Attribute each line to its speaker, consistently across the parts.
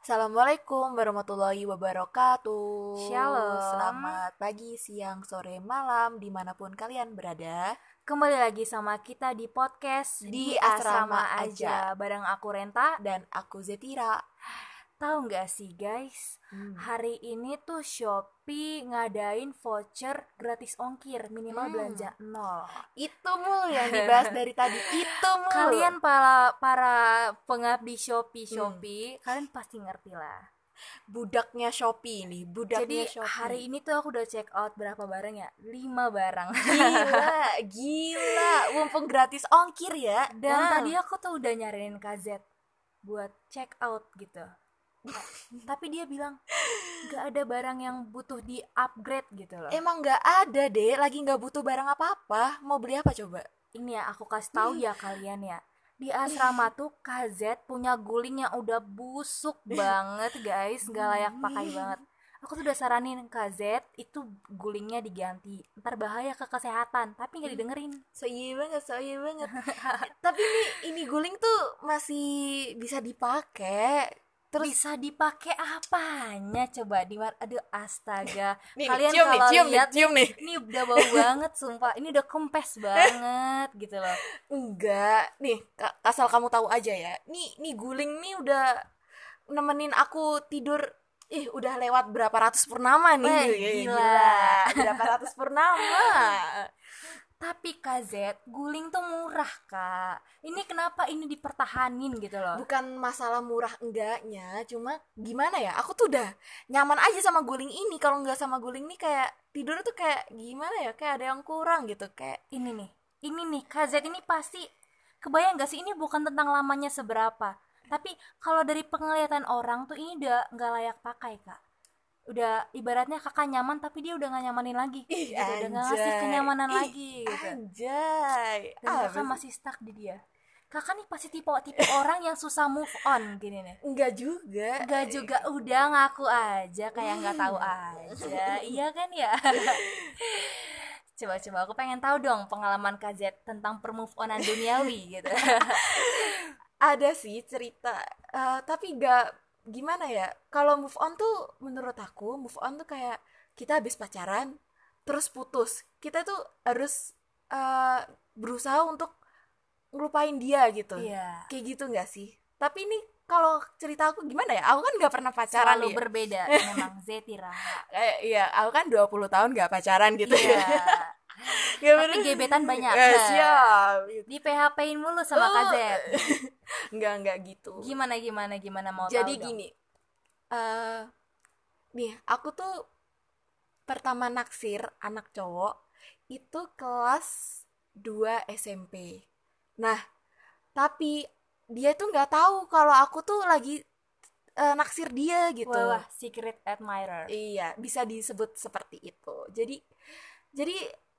Speaker 1: Assalamualaikum warahmatullahi wabarakatuh.
Speaker 2: Shalom.
Speaker 1: Selamat pagi, siang, sore, malam, dimanapun kalian berada.
Speaker 2: Kembali lagi sama kita di podcast
Speaker 1: Di Asrama Aja.
Speaker 2: Bareng aku Renta.
Speaker 1: Dan aku Zetira.
Speaker 2: Tahu nggak sih guys, hari ini tuh Shopee ngadain voucher gratis ongkir minimal
Speaker 1: Hmm.
Speaker 2: belanja nol.
Speaker 1: Itu mulu yang dibahas dari tadi. Itu mulu.
Speaker 2: Kalian para para pengabdi
Speaker 1: Hmm.
Speaker 2: Shopee Shopee, kalian pasti ngerti lah.
Speaker 1: budaknya Shopee ini, budaknya Shopee.
Speaker 2: Jadi hari ini tuh aku udah check out berapa barang ya? 5 barang.
Speaker 1: gila, gila. Mumpung gratis ongkir ya.
Speaker 2: Dan
Speaker 1: Wow.
Speaker 2: tadi aku tuh udah nyariin KZ buat check out gitu. Nah, Tapi dia bilang nggak ada barang yang butuh di upgrade gitu loh.
Speaker 1: emang nggak ada deh, lagi nggak butuh barang apa-apa. Mau beli apa coba?
Speaker 2: Ini ya aku kasih tahu ya kalian ya. Di asrama tuh KZ punya guling yang udah busuk banget guys, nggak layak pakai banget. Aku tuh udah saranin KZ itu gulingnya diganti. Ntar bahaya ke kesehatan, tapi nggak didengerin.
Speaker 1: So iya banget, so iya banget. Tapi ini ini guling tuh masih bisa dipakai.
Speaker 2: Terus bisa dipakai apanya coba di mar- aduh astaga.
Speaker 1: Nih,
Speaker 2: Kalian
Speaker 1: cium nih,
Speaker 2: kalau
Speaker 1: cium
Speaker 2: lihat
Speaker 1: nih, cium nih.
Speaker 2: ini udah bau banget sumpah ini udah kempes banget gitu loh
Speaker 1: Enggak, nih ka- asal kamu tahu aja ya. Nih, nih guling nih udah nemenin aku tidur. Ih, udah lewat berapa ratus purnama nih.
Speaker 2: Weh,
Speaker 1: Iya,
Speaker 2: gila.
Speaker 1: Berapa ratus purnama.
Speaker 2: tapi KZ guling tuh murah kak ini kenapa ini dipertahanin gitu loh
Speaker 1: Bukan masalah murah enggaknya, cuma gimana ya? Aku tuh udah nyaman aja sama guling ini. Kalau nggak sama guling nih kayak tidur tuh kayak gimana ya? Kayak ada yang kurang gitu, kayak
Speaker 2: ini nih ini nih KZ ini pasti kebayang gak sih ini bukan tentang lamanya seberapa tapi kalau dari penglihatan orang tuh ini udah nggak layak pakai kak udah ibaratnya kakak nyaman tapi dia udah gak nyamanin lagi
Speaker 1: Ih,
Speaker 2: gitu, udah gak ngasih
Speaker 1: anjay.
Speaker 2: kenyamanan
Speaker 1: Ih,
Speaker 2: lagi gitu.
Speaker 1: anjay.
Speaker 2: dan
Speaker 1: Ah,
Speaker 2: kakak masih stuck di dia kakak nih pasti tipe tipe orang yang susah move on gini nih
Speaker 1: enggak juga.
Speaker 2: Gak juga udah ngaku aja kayak nggak tahu aja iya kan ya coba-coba aku pengen tahu dong pengalaman KZ tentang permove onan duniawi gitu
Speaker 1: Iya. ada sih cerita Eh, tapi gak gimana ya kalau move on tuh menurut aku move on tuh kayak kita habis pacaran terus putus kita tuh harus eh, berusaha untuk ngelupain dia gitu
Speaker 2: iya
Speaker 1: kayak gitu nggak sih tapi ini kalau cerita aku gimana ya aku kan nggak pernah pacaran
Speaker 2: selalu
Speaker 1: ya.
Speaker 2: berbeda memang Zetira
Speaker 1: Eh, iya aku kan 20 tahun nggak pacaran gitu
Speaker 2: iya
Speaker 1: ya Nggak
Speaker 2: tapi
Speaker 1: pernah.
Speaker 2: gebetan banyak
Speaker 1: Eh, siap gitu.
Speaker 2: di PHP-in mulu sama
Speaker 1: Oh.
Speaker 2: KZ
Speaker 1: nggak nggak gitu
Speaker 2: gimana gimana gimana mau
Speaker 1: jadi
Speaker 2: tahu dong?
Speaker 1: gini eh nih aku tuh pertama naksir anak cowok itu kelas 2 SMP nah tapi dia tuh nggak tahu kalau aku tuh lagi eh, naksir dia gitu
Speaker 2: wah, wah secret admirer
Speaker 1: Iya, bisa disebut seperti itu. Jadi jadi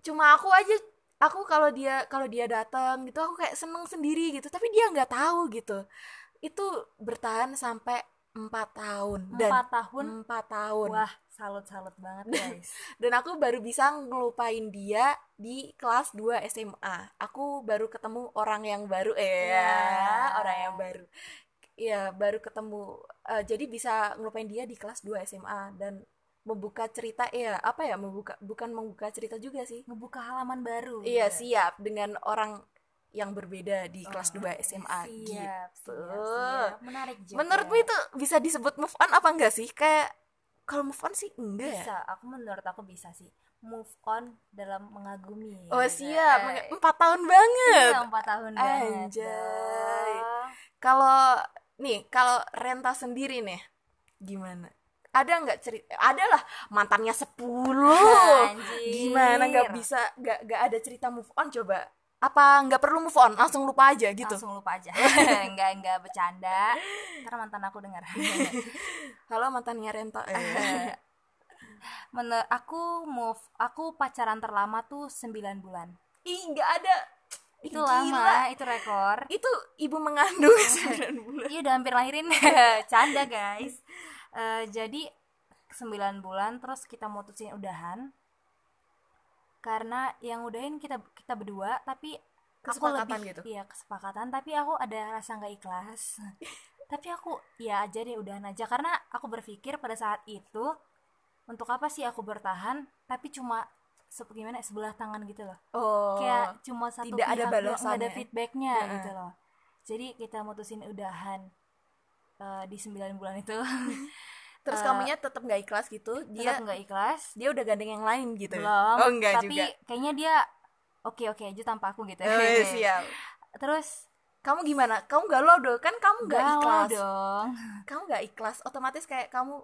Speaker 1: cuma aku aja aku kalau dia kalau dia datang gitu aku kayak seneng sendiri gitu, tapi dia nggak tahu gitu. Itu bertahan sampai empat tahun dan
Speaker 2: empat tahun
Speaker 1: empat tahun.
Speaker 2: wah salut salut banget guys
Speaker 1: Dan aku baru bisa ngelupain dia di kelas 2 SMA. Aku baru ketemu orang yang baru eh
Speaker 2: Ya.
Speaker 1: orang yang baru. Ya, baru ketemu eh, jadi bisa ngelupain dia di kelas 2 SMA dan membuka cerita ya apa ya membuka bukan membuka cerita juga sih.
Speaker 2: ngebuka halaman baru
Speaker 1: Iya,
Speaker 2: gitu.
Speaker 1: siap dengan orang yang berbeda di kelas 2 SMA
Speaker 2: Ah, siap,
Speaker 1: gitu.
Speaker 2: siap, siap. Menarik juga.
Speaker 1: Menurutmu itu bisa disebut move on apa enggak sih? Kayak kalau move on sih enggak ya?
Speaker 2: bisa. Aku menurut aku bisa sih. Move on dalam mengagumi.
Speaker 1: Oh
Speaker 2: gitu.
Speaker 1: siap,
Speaker 2: Eh,
Speaker 1: empat tahun banget.
Speaker 2: iya, empat tahun banget.
Speaker 1: Anjay.
Speaker 2: dong.
Speaker 1: Kalau nih, kalau renta sendiri nih, gimana? Ada nggak cerita? Ada lah mantannya 10
Speaker 2: Anjir.
Speaker 1: Uh, Gimana nggak bisa nggak nggak ada cerita move on coba? Apa nggak perlu move on? Langsung lupa aja gitu.
Speaker 2: Langsung lupa aja. enggak enggak bercanda. Ntar mantan aku dengar.
Speaker 1: Kalau mantannya renta, eh.
Speaker 2: Menurut aku move aku pacaran terlama tuh 9 bulan.
Speaker 1: ih nggak ada. Ih,
Speaker 2: Itu
Speaker 1: gila.
Speaker 2: lama, itu rekor.
Speaker 1: Itu ibu mengandung 9 bulan.
Speaker 2: Iya udah hampir lahirin Canda guys Eh, Jadi 9 bulan terus kita mutusin udahan Karena yang udahin kita kita berdua Tapi aku
Speaker 1: Kesepakatan
Speaker 2: lebih-
Speaker 1: gitu.
Speaker 2: Iya kesepakatan Tapi aku ada rasa nggak ikhlas tapi aku ya aja deh udahan aja karena aku berpikir pada saat itu untuk apa sih aku bertahan tapi cuma se- gimana ya, sebelah tangan gitu loh
Speaker 1: oh
Speaker 2: kayak cuma satu
Speaker 1: tidak ada
Speaker 2: pihak doang, nggak ada
Speaker 1: balasannya.
Speaker 2: feedbacknya
Speaker 1: Heeh.
Speaker 2: gitu loh jadi kita mutusin udahan eh, di 9 bulan itu
Speaker 1: terus
Speaker 2: eh,
Speaker 1: kamunya tetap nggak ikhlas gitu dia
Speaker 2: tetap nggak ikhlas
Speaker 1: dia udah gandeng yang lain gitu ya?
Speaker 2: belum
Speaker 1: oh enggak
Speaker 2: tapi
Speaker 1: juga
Speaker 2: kayaknya dia oke oke aja tanpa aku gitu
Speaker 1: Eh, siap
Speaker 2: terus
Speaker 1: kamu gimana kamu galau dong kan kamu nggak
Speaker 2: galau
Speaker 1: ikhlas
Speaker 2: dong
Speaker 1: kamu nggak ikhlas otomatis kayak kamu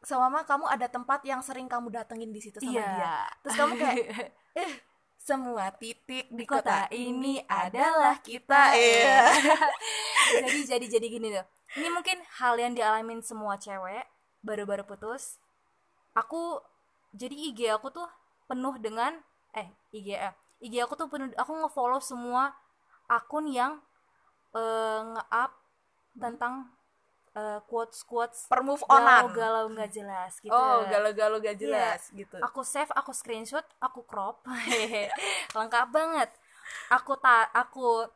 Speaker 1: selama kamu ada tempat yang sering kamu datengin di situ
Speaker 2: Iya.
Speaker 1: sama dia terus kamu kayak eh semua titik di,
Speaker 2: di kota ini adalah kita
Speaker 1: kita iya
Speaker 2: jadi jadi jadi gini loh ini mungkin hal yang dialamin semua cewek baru-baru putus aku jadi IG aku tuh penuh dengan eh IG eh, IG aku tuh penuh aku ngefollow semua akun yang eh, nge-up tentang eh, quotes quotes
Speaker 1: per move
Speaker 2: galau
Speaker 1: onan
Speaker 2: galau nggak jelas gitu
Speaker 1: oh galau-galau gak jelas gitu
Speaker 2: aku save aku screenshot aku crop lengkap banget aku tak aku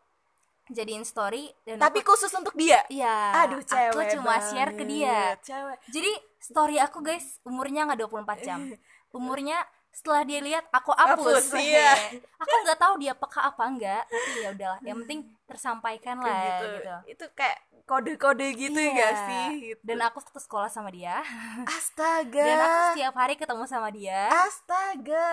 Speaker 2: jadiin story dan
Speaker 1: tapi
Speaker 2: aku-
Speaker 1: khusus untuk dia
Speaker 2: iya
Speaker 1: aduh cewek
Speaker 2: aku cuma
Speaker 1: banget.
Speaker 2: share ke dia
Speaker 1: cewek
Speaker 2: jadi story aku guys umurnya nggak 24 jam umurnya setelah dia lihat aku
Speaker 1: Hapus,
Speaker 2: hapus
Speaker 1: iya.
Speaker 2: aku nggak tahu dia peka apa enggak tapi ya udahlah yang penting tersampaikan
Speaker 1: Kayak
Speaker 2: lah
Speaker 1: gitu.
Speaker 2: gitu,
Speaker 1: itu kayak kode-kode gitu ya
Speaker 2: Iya.
Speaker 1: gak sih gitu. Iya.
Speaker 2: dan aku satu sekolah sama dia
Speaker 1: astaga
Speaker 2: dan aku setiap hari ketemu sama dia
Speaker 1: Ah, astaga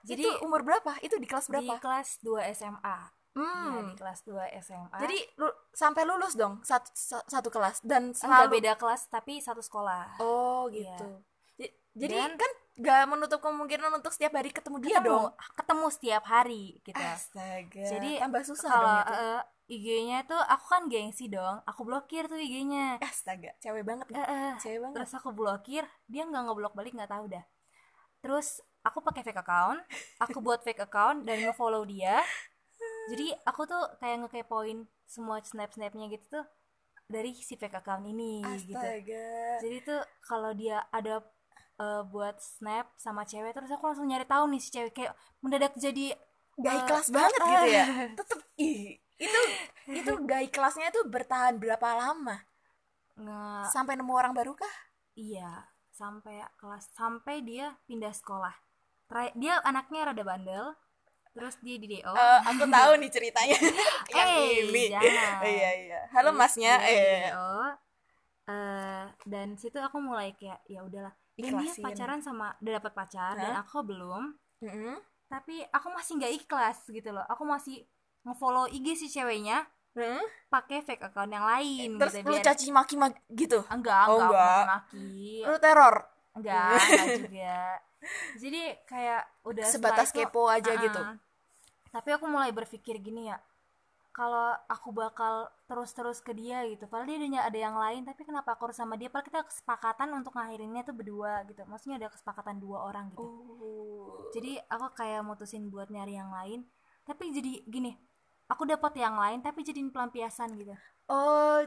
Speaker 2: Jadi-
Speaker 1: itu umur berapa itu di kelas
Speaker 2: di
Speaker 1: berapa
Speaker 2: kelas 2 SMA Iya,
Speaker 1: Hmm.
Speaker 2: di kelas 2 SMA.
Speaker 1: Jadi lu- sampai lulus dong satu sa- satu kelas dan
Speaker 2: enggak
Speaker 1: selalu
Speaker 2: beda kelas tapi satu sekolah.
Speaker 1: Oh
Speaker 2: Iya.
Speaker 1: gitu. J- Jadi
Speaker 2: Dan-
Speaker 1: kan gak menutup kemungkinan untuk setiap hari ketemu Iya. dia
Speaker 2: ketemu,
Speaker 1: Iya dong.
Speaker 2: ketemu setiap hari gitu.
Speaker 1: Astaga.
Speaker 2: Jadi,
Speaker 1: tambah susah
Speaker 2: Kalau
Speaker 1: dong itu.
Speaker 2: eh, IG-nya tuh aku kan gengsi dong, aku blokir tuh IG-nya.
Speaker 1: eh, Astaga, cewek banget
Speaker 2: Eh,
Speaker 1: gak?
Speaker 2: eh,
Speaker 1: Cewek banget.
Speaker 2: terus aku blokir, dia nggak ngeblok balik nggak tahu dah. Terus aku pakai fake account, aku buat fake account dan nge-follow dia. Jadi aku tuh kayak ngekepoin semua snap-snapnya gitu tuh dari si fake account ini gitu.
Speaker 1: Astaga.
Speaker 2: Jadi tuh kalau dia ada eh, buat snap sama cewek terus aku langsung nyari tahu nih si cewek kayak mendadak jadi
Speaker 1: Gak
Speaker 2: eh,
Speaker 1: ikhlas banget gitu ya.
Speaker 2: eh,
Speaker 1: Tetep ih, itu itu gak ikhlasnya itu bertahan berapa lama?
Speaker 2: nge-
Speaker 1: Sampai nemu orang baru kah?
Speaker 2: iya sampai kelas sampai dia pindah sekolah. Tra- Dia anaknya rada bandel. Terus dia di DO.
Speaker 1: Eh, aku tahu nih ceritanya yang
Speaker 2: Eh,
Speaker 1: ini.
Speaker 2: jangan.
Speaker 1: Iya iya. Halo
Speaker 2: Terus
Speaker 1: masnya.
Speaker 2: dia di
Speaker 1: Eh,
Speaker 2: DO. Eh, dan situ aku mulai kayak ya udahlah. Dan dia
Speaker 1: ikhlasin.
Speaker 2: pacaran sama udah dapat pacar dan
Speaker 1: Hah?
Speaker 2: aku belum.
Speaker 1: Mm-mm.
Speaker 2: tapi aku masih nggak ikhlas gitu loh aku masih ngefollow IG si ceweknya
Speaker 1: Hmm?
Speaker 2: pakai fake account yang lain
Speaker 1: Terus
Speaker 2: gitu
Speaker 1: lu
Speaker 2: biar
Speaker 1: caci maki maki gitu.
Speaker 2: enggak
Speaker 1: Oh,
Speaker 2: enggak
Speaker 1: enggak.
Speaker 2: maki
Speaker 1: Lu teror
Speaker 2: enggak enggak juga jadi kayak udah setelah
Speaker 1: sebatas
Speaker 2: itu, ah, uh.
Speaker 1: kepo aja
Speaker 2: ah-ah.
Speaker 1: gitu.
Speaker 2: tapi aku mulai berpikir gini ya kalau aku bakal terus-terus ke dia gitu padahal dia ada- ada yang lain tapi kenapa aku harus sama dia padahal kita kesepakatan untuk ngakhirinnya tuh berdua gitu maksudnya ada kesepakatan dua
Speaker 1: Oh.
Speaker 2: orang gitu jadi aku kayak mutusin buat nyari yang lain tapi jadi gini aku dapat yang lain tapi jadiin pelampiasan gitu
Speaker 1: Oh,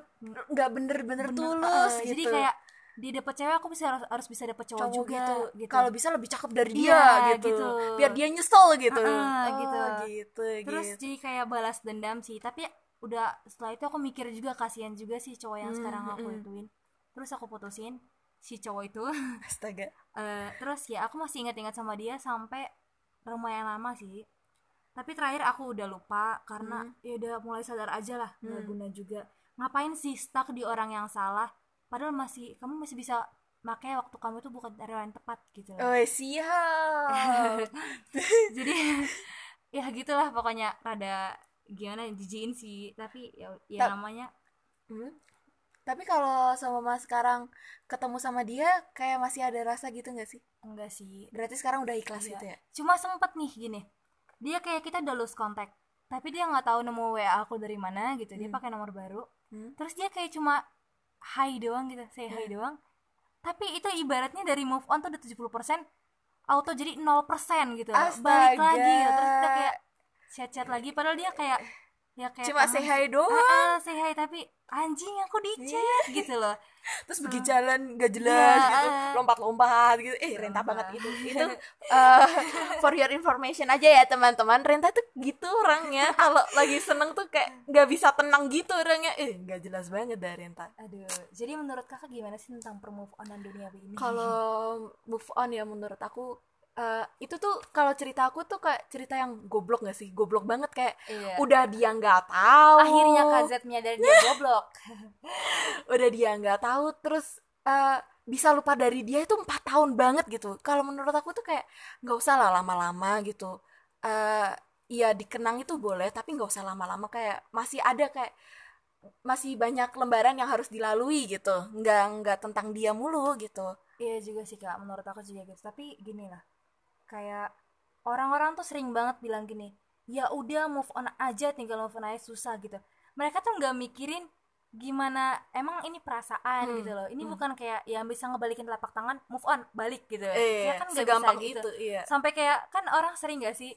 Speaker 1: nggak bener-bener
Speaker 2: Bener,
Speaker 1: tulus
Speaker 2: eh,
Speaker 1: gitu.
Speaker 2: jadi kayak dia dapat cewek aku bisa harus, harus bisa dapat cowok,
Speaker 1: cowok
Speaker 2: juga
Speaker 1: gitu.
Speaker 2: gitu
Speaker 1: Kalau bisa lebih cakep dari dia
Speaker 2: Iya,
Speaker 1: gitu.
Speaker 2: gitu.
Speaker 1: Biar dia nyesel gitu.
Speaker 2: Heeh,
Speaker 1: Oh,
Speaker 2: gitu.
Speaker 1: gitu,
Speaker 2: terus
Speaker 1: gitu.
Speaker 2: jadi kayak balas dendam sih tapi udah setelah itu aku mikir juga kasihan juga sih cowok yang
Speaker 1: Hmm,
Speaker 2: sekarang aku
Speaker 1: hmm.
Speaker 2: ituin terus aku putusin si cowok itu
Speaker 1: Astaga.
Speaker 2: Eh, terus ya aku masih ingat-ingat sama dia sampai lumayan lama sih tapi terakhir aku udah lupa karena ya udah mulai sadar aja lah nggak
Speaker 1: Hmm.
Speaker 2: guna juga ngapain sih stuck di orang yang salah padahal masih kamu masih bisa makanya waktu kamu tuh bukan dari orang yang tepat gitu loh
Speaker 1: Oh, siap.
Speaker 2: jadi ya gitulah pokoknya rada gimana jijiin sih tapi ya, ya
Speaker 1: Tap-
Speaker 2: namanya
Speaker 1: Hmm. Tapi kalau sama Mas sekarang ketemu sama dia kayak masih ada rasa gitu nggak sih?
Speaker 2: enggak sih
Speaker 1: Berarti sekarang udah ikhlas
Speaker 2: Iya.
Speaker 1: gitu ya?
Speaker 2: cuma sempet nih gini dia kayak kita udah lose kontak tapi dia nggak tahu nemu wa aku dari mana gitu dia
Speaker 1: Hmm.
Speaker 2: pakai nomor baru
Speaker 1: Hmm.
Speaker 2: terus dia kayak cuma hi doang gitu say hi doang tapi itu ibaratnya dari move on tuh udah 70% auto jadi 0% gitu
Speaker 1: Astaga.
Speaker 2: balik lagi gitu. terus kita kayak chat-chat lagi padahal dia kayak ya kayak
Speaker 1: cuma
Speaker 2: tangan-
Speaker 1: say hi doang
Speaker 2: Ah, ah, say hi tapi anjing aku dicet gitu loh
Speaker 1: terus pergi jalan gak jelas
Speaker 2: Iya,
Speaker 1: gitu
Speaker 2: ah.
Speaker 1: lompat-lompat gitu eh renta
Speaker 2: Lompat.
Speaker 1: banget itu itu eh, for your information aja ya teman-teman renta tuh gitu orangnya kalau lagi seneng tuh kayak nggak bisa tenang gitu orangnya eh nggak jelas banget dah renta
Speaker 2: aduh jadi menurut kakak gimana sih tentang permove onan dunia ini
Speaker 1: kalau move on ya menurut aku eh, itu tuh kalau cerita aku tuh kayak cerita yang goblok gak sih goblok banget kayak
Speaker 2: Iya.
Speaker 1: udah dia nggak tahu
Speaker 2: akhirnya KZ menyadari dia goblok
Speaker 1: udah dia nggak tahu terus eh, bisa lupa dari dia itu empat tahun banget gitu kalau menurut aku tuh kayak nggak usah lah lama-lama gitu eh ya dikenang itu boleh tapi nggak usah lama-lama kayak masih ada kayak masih banyak lembaran yang harus dilalui gitu nggak nggak tentang dia mulu gitu
Speaker 2: Iya juga sih kak, menurut aku juga gitu. Tapi gini lah, kayak orang-orang tuh sering banget bilang gini, ya udah move on aja, tinggal move on aja susah gitu. Mereka tuh nggak mikirin gimana, emang ini perasaan
Speaker 1: Hmm,
Speaker 2: gitu loh. Ini
Speaker 1: hmm.
Speaker 2: bukan kayak yang bisa ngebalikin telapak tangan, move on, balik gitu.
Speaker 1: eh
Speaker 2: Ya kan nggak bisa
Speaker 1: segampang
Speaker 2: gitu.
Speaker 1: itu iya
Speaker 2: Sampai kayak kan orang sering gak sih,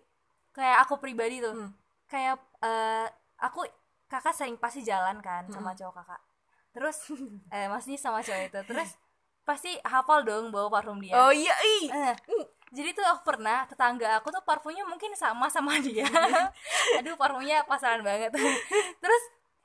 Speaker 2: kayak aku pribadi tuh,
Speaker 1: Hmm.
Speaker 2: kayak eh, aku kakak sering pasti jalan kan sama
Speaker 1: Mm-mm.
Speaker 2: cowok kakak terus eh maksudnya sama cowok itu terus pasti hafal dong bawa parfum dia
Speaker 1: oh iya ih
Speaker 2: Eh, jadi tuh aku pernah tetangga aku tuh parfumnya mungkin sama sama dia aduh parfumnya pasaran banget terus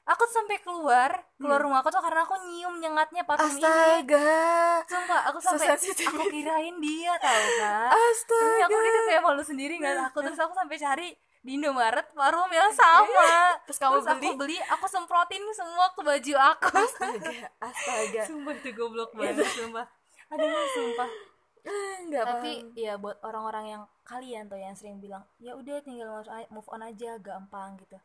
Speaker 2: aku tuh sampai keluar keluar rumah aku tuh karena aku nyium nyengatnya parfum ini
Speaker 1: Hmm. astaga
Speaker 2: sumpah aku
Speaker 1: So
Speaker 2: sampai
Speaker 1: sensitive.
Speaker 2: aku kirain dia tau kan Terus aku
Speaker 1: astaga
Speaker 2: gitu kayak malu sendiri nggak aku terus aku sampai cari di Indomaret parfum yang sama
Speaker 1: Terus kamu
Speaker 2: Iya. Terus aku beli aku semprotin semua ke baju aku
Speaker 1: astaga astaga
Speaker 2: sumpah itu goblok banget sumpah aduh sumpah
Speaker 1: Eh, nggak
Speaker 2: tapi
Speaker 1: paham.
Speaker 2: ya buat orang-orang yang kalian tuh yang sering bilang ya udah tinggal move on- move on aja gampang gitu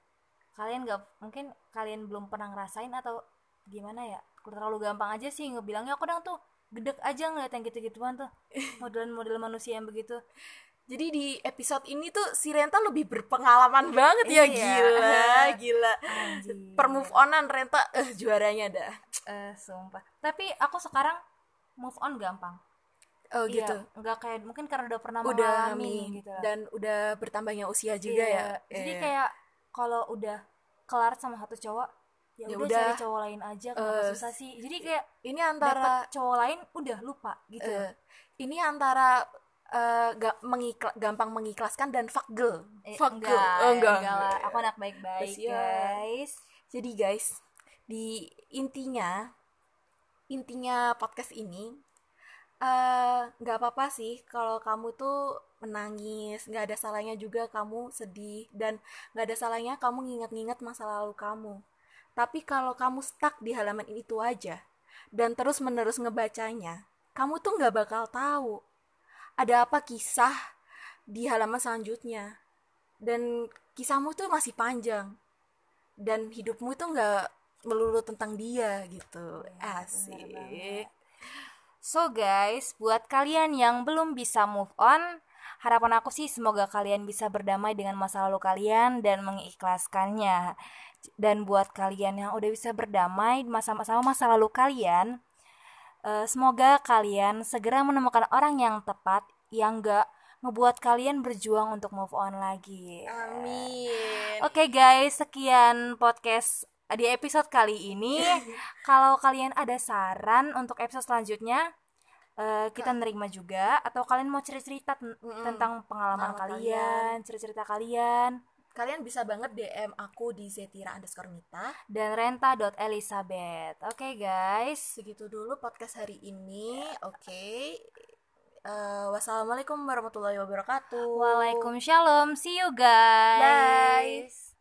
Speaker 2: kalian nggak mungkin kalian belum pernah ngerasain atau gimana ya terlalu gampang aja sih ngebilangnya aku kadang tuh gedek aja ngeliat yang gitu-gituan tuh model-model manusia yang begitu
Speaker 1: Jadi di episode ini tuh si Renta lebih berpengalaman banget ya
Speaker 2: Iya.
Speaker 1: gila, gila.
Speaker 2: Anjir.
Speaker 1: Per move onan Renta eh juaranya dah.
Speaker 2: Eh, sumpah. Tapi aku sekarang move on gampang.
Speaker 1: Oh
Speaker 2: Iya,
Speaker 1: gitu.
Speaker 2: nggak kayak mungkin karena udah pernah
Speaker 1: Udah
Speaker 2: mengalami
Speaker 1: amin.
Speaker 2: gitu. lah.
Speaker 1: dan udah bertambahnya usia juga
Speaker 2: Iya,
Speaker 1: ya.
Speaker 2: Jadi
Speaker 1: Iya.
Speaker 2: kayak kalau udah kelar sama satu cowok, ya
Speaker 1: Ya
Speaker 2: udah
Speaker 1: udah.
Speaker 2: cari cowok lain aja kenapa
Speaker 1: Eh,
Speaker 2: susah sih. Jadi kayak
Speaker 1: ini
Speaker 2: dapet
Speaker 1: antara
Speaker 2: cowok lain udah lupa gitu.
Speaker 1: eh, ini antara eh, ga- mengikla- gampang mengikhlaskan dan fuck girl.
Speaker 2: Eh,
Speaker 1: fuck
Speaker 2: enggak,
Speaker 1: girl. Oh, enggak,
Speaker 2: enggak lah.
Speaker 1: enggak.
Speaker 2: Aku anak baik-baik,
Speaker 1: Kasihan.
Speaker 2: guys.
Speaker 1: Jadi guys, di intinya intinya podcast ini eh, nggak apa-apa sih kalau kamu tuh menangis, nggak ada salahnya juga kamu sedih dan nggak ada salahnya kamu nginget-nginget masa lalu kamu. Tapi kalau kamu stuck di halaman itu aja dan terus-menerus ngebacanya, kamu tuh nggak bakal tahu ada apa kisah di halaman selanjutnya. Dan kisahmu tuh masih panjang dan hidupmu tuh nggak melulu tentang dia gitu asik
Speaker 2: banget. So guys, buat kalian yang belum bisa move on, harapan aku sih semoga kalian bisa berdamai dengan masa lalu kalian dan mengikhlaskannya. Dan buat kalian yang udah bisa berdamai masa- sama masa lalu kalian, eh, semoga kalian segera menemukan orang yang tepat yang gak ngebuat kalian berjuang untuk move on lagi.
Speaker 1: amin
Speaker 2: Oke guys, sekian podcast di episode kali ini. Kalau kalian ada saran untuk episode selanjutnya, eh, kita nerima juga. Atau kalian mau cerita-cerita ten-
Speaker 1: Mm-mm.
Speaker 2: tentang pengalaman
Speaker 1: Hmm, Pengalaman
Speaker 2: kalian, cerita-cerita kalian,
Speaker 1: kalian bisa banget dm aku di zetira underscore nita
Speaker 2: dan renta.elizabeth. Oke guys,
Speaker 1: segitu dulu podcast hari ini oke Eh, wassalamualaikum warahmatullahi wabarakatuh
Speaker 2: Waalaikumsalam, see you guys.
Speaker 1: Bye.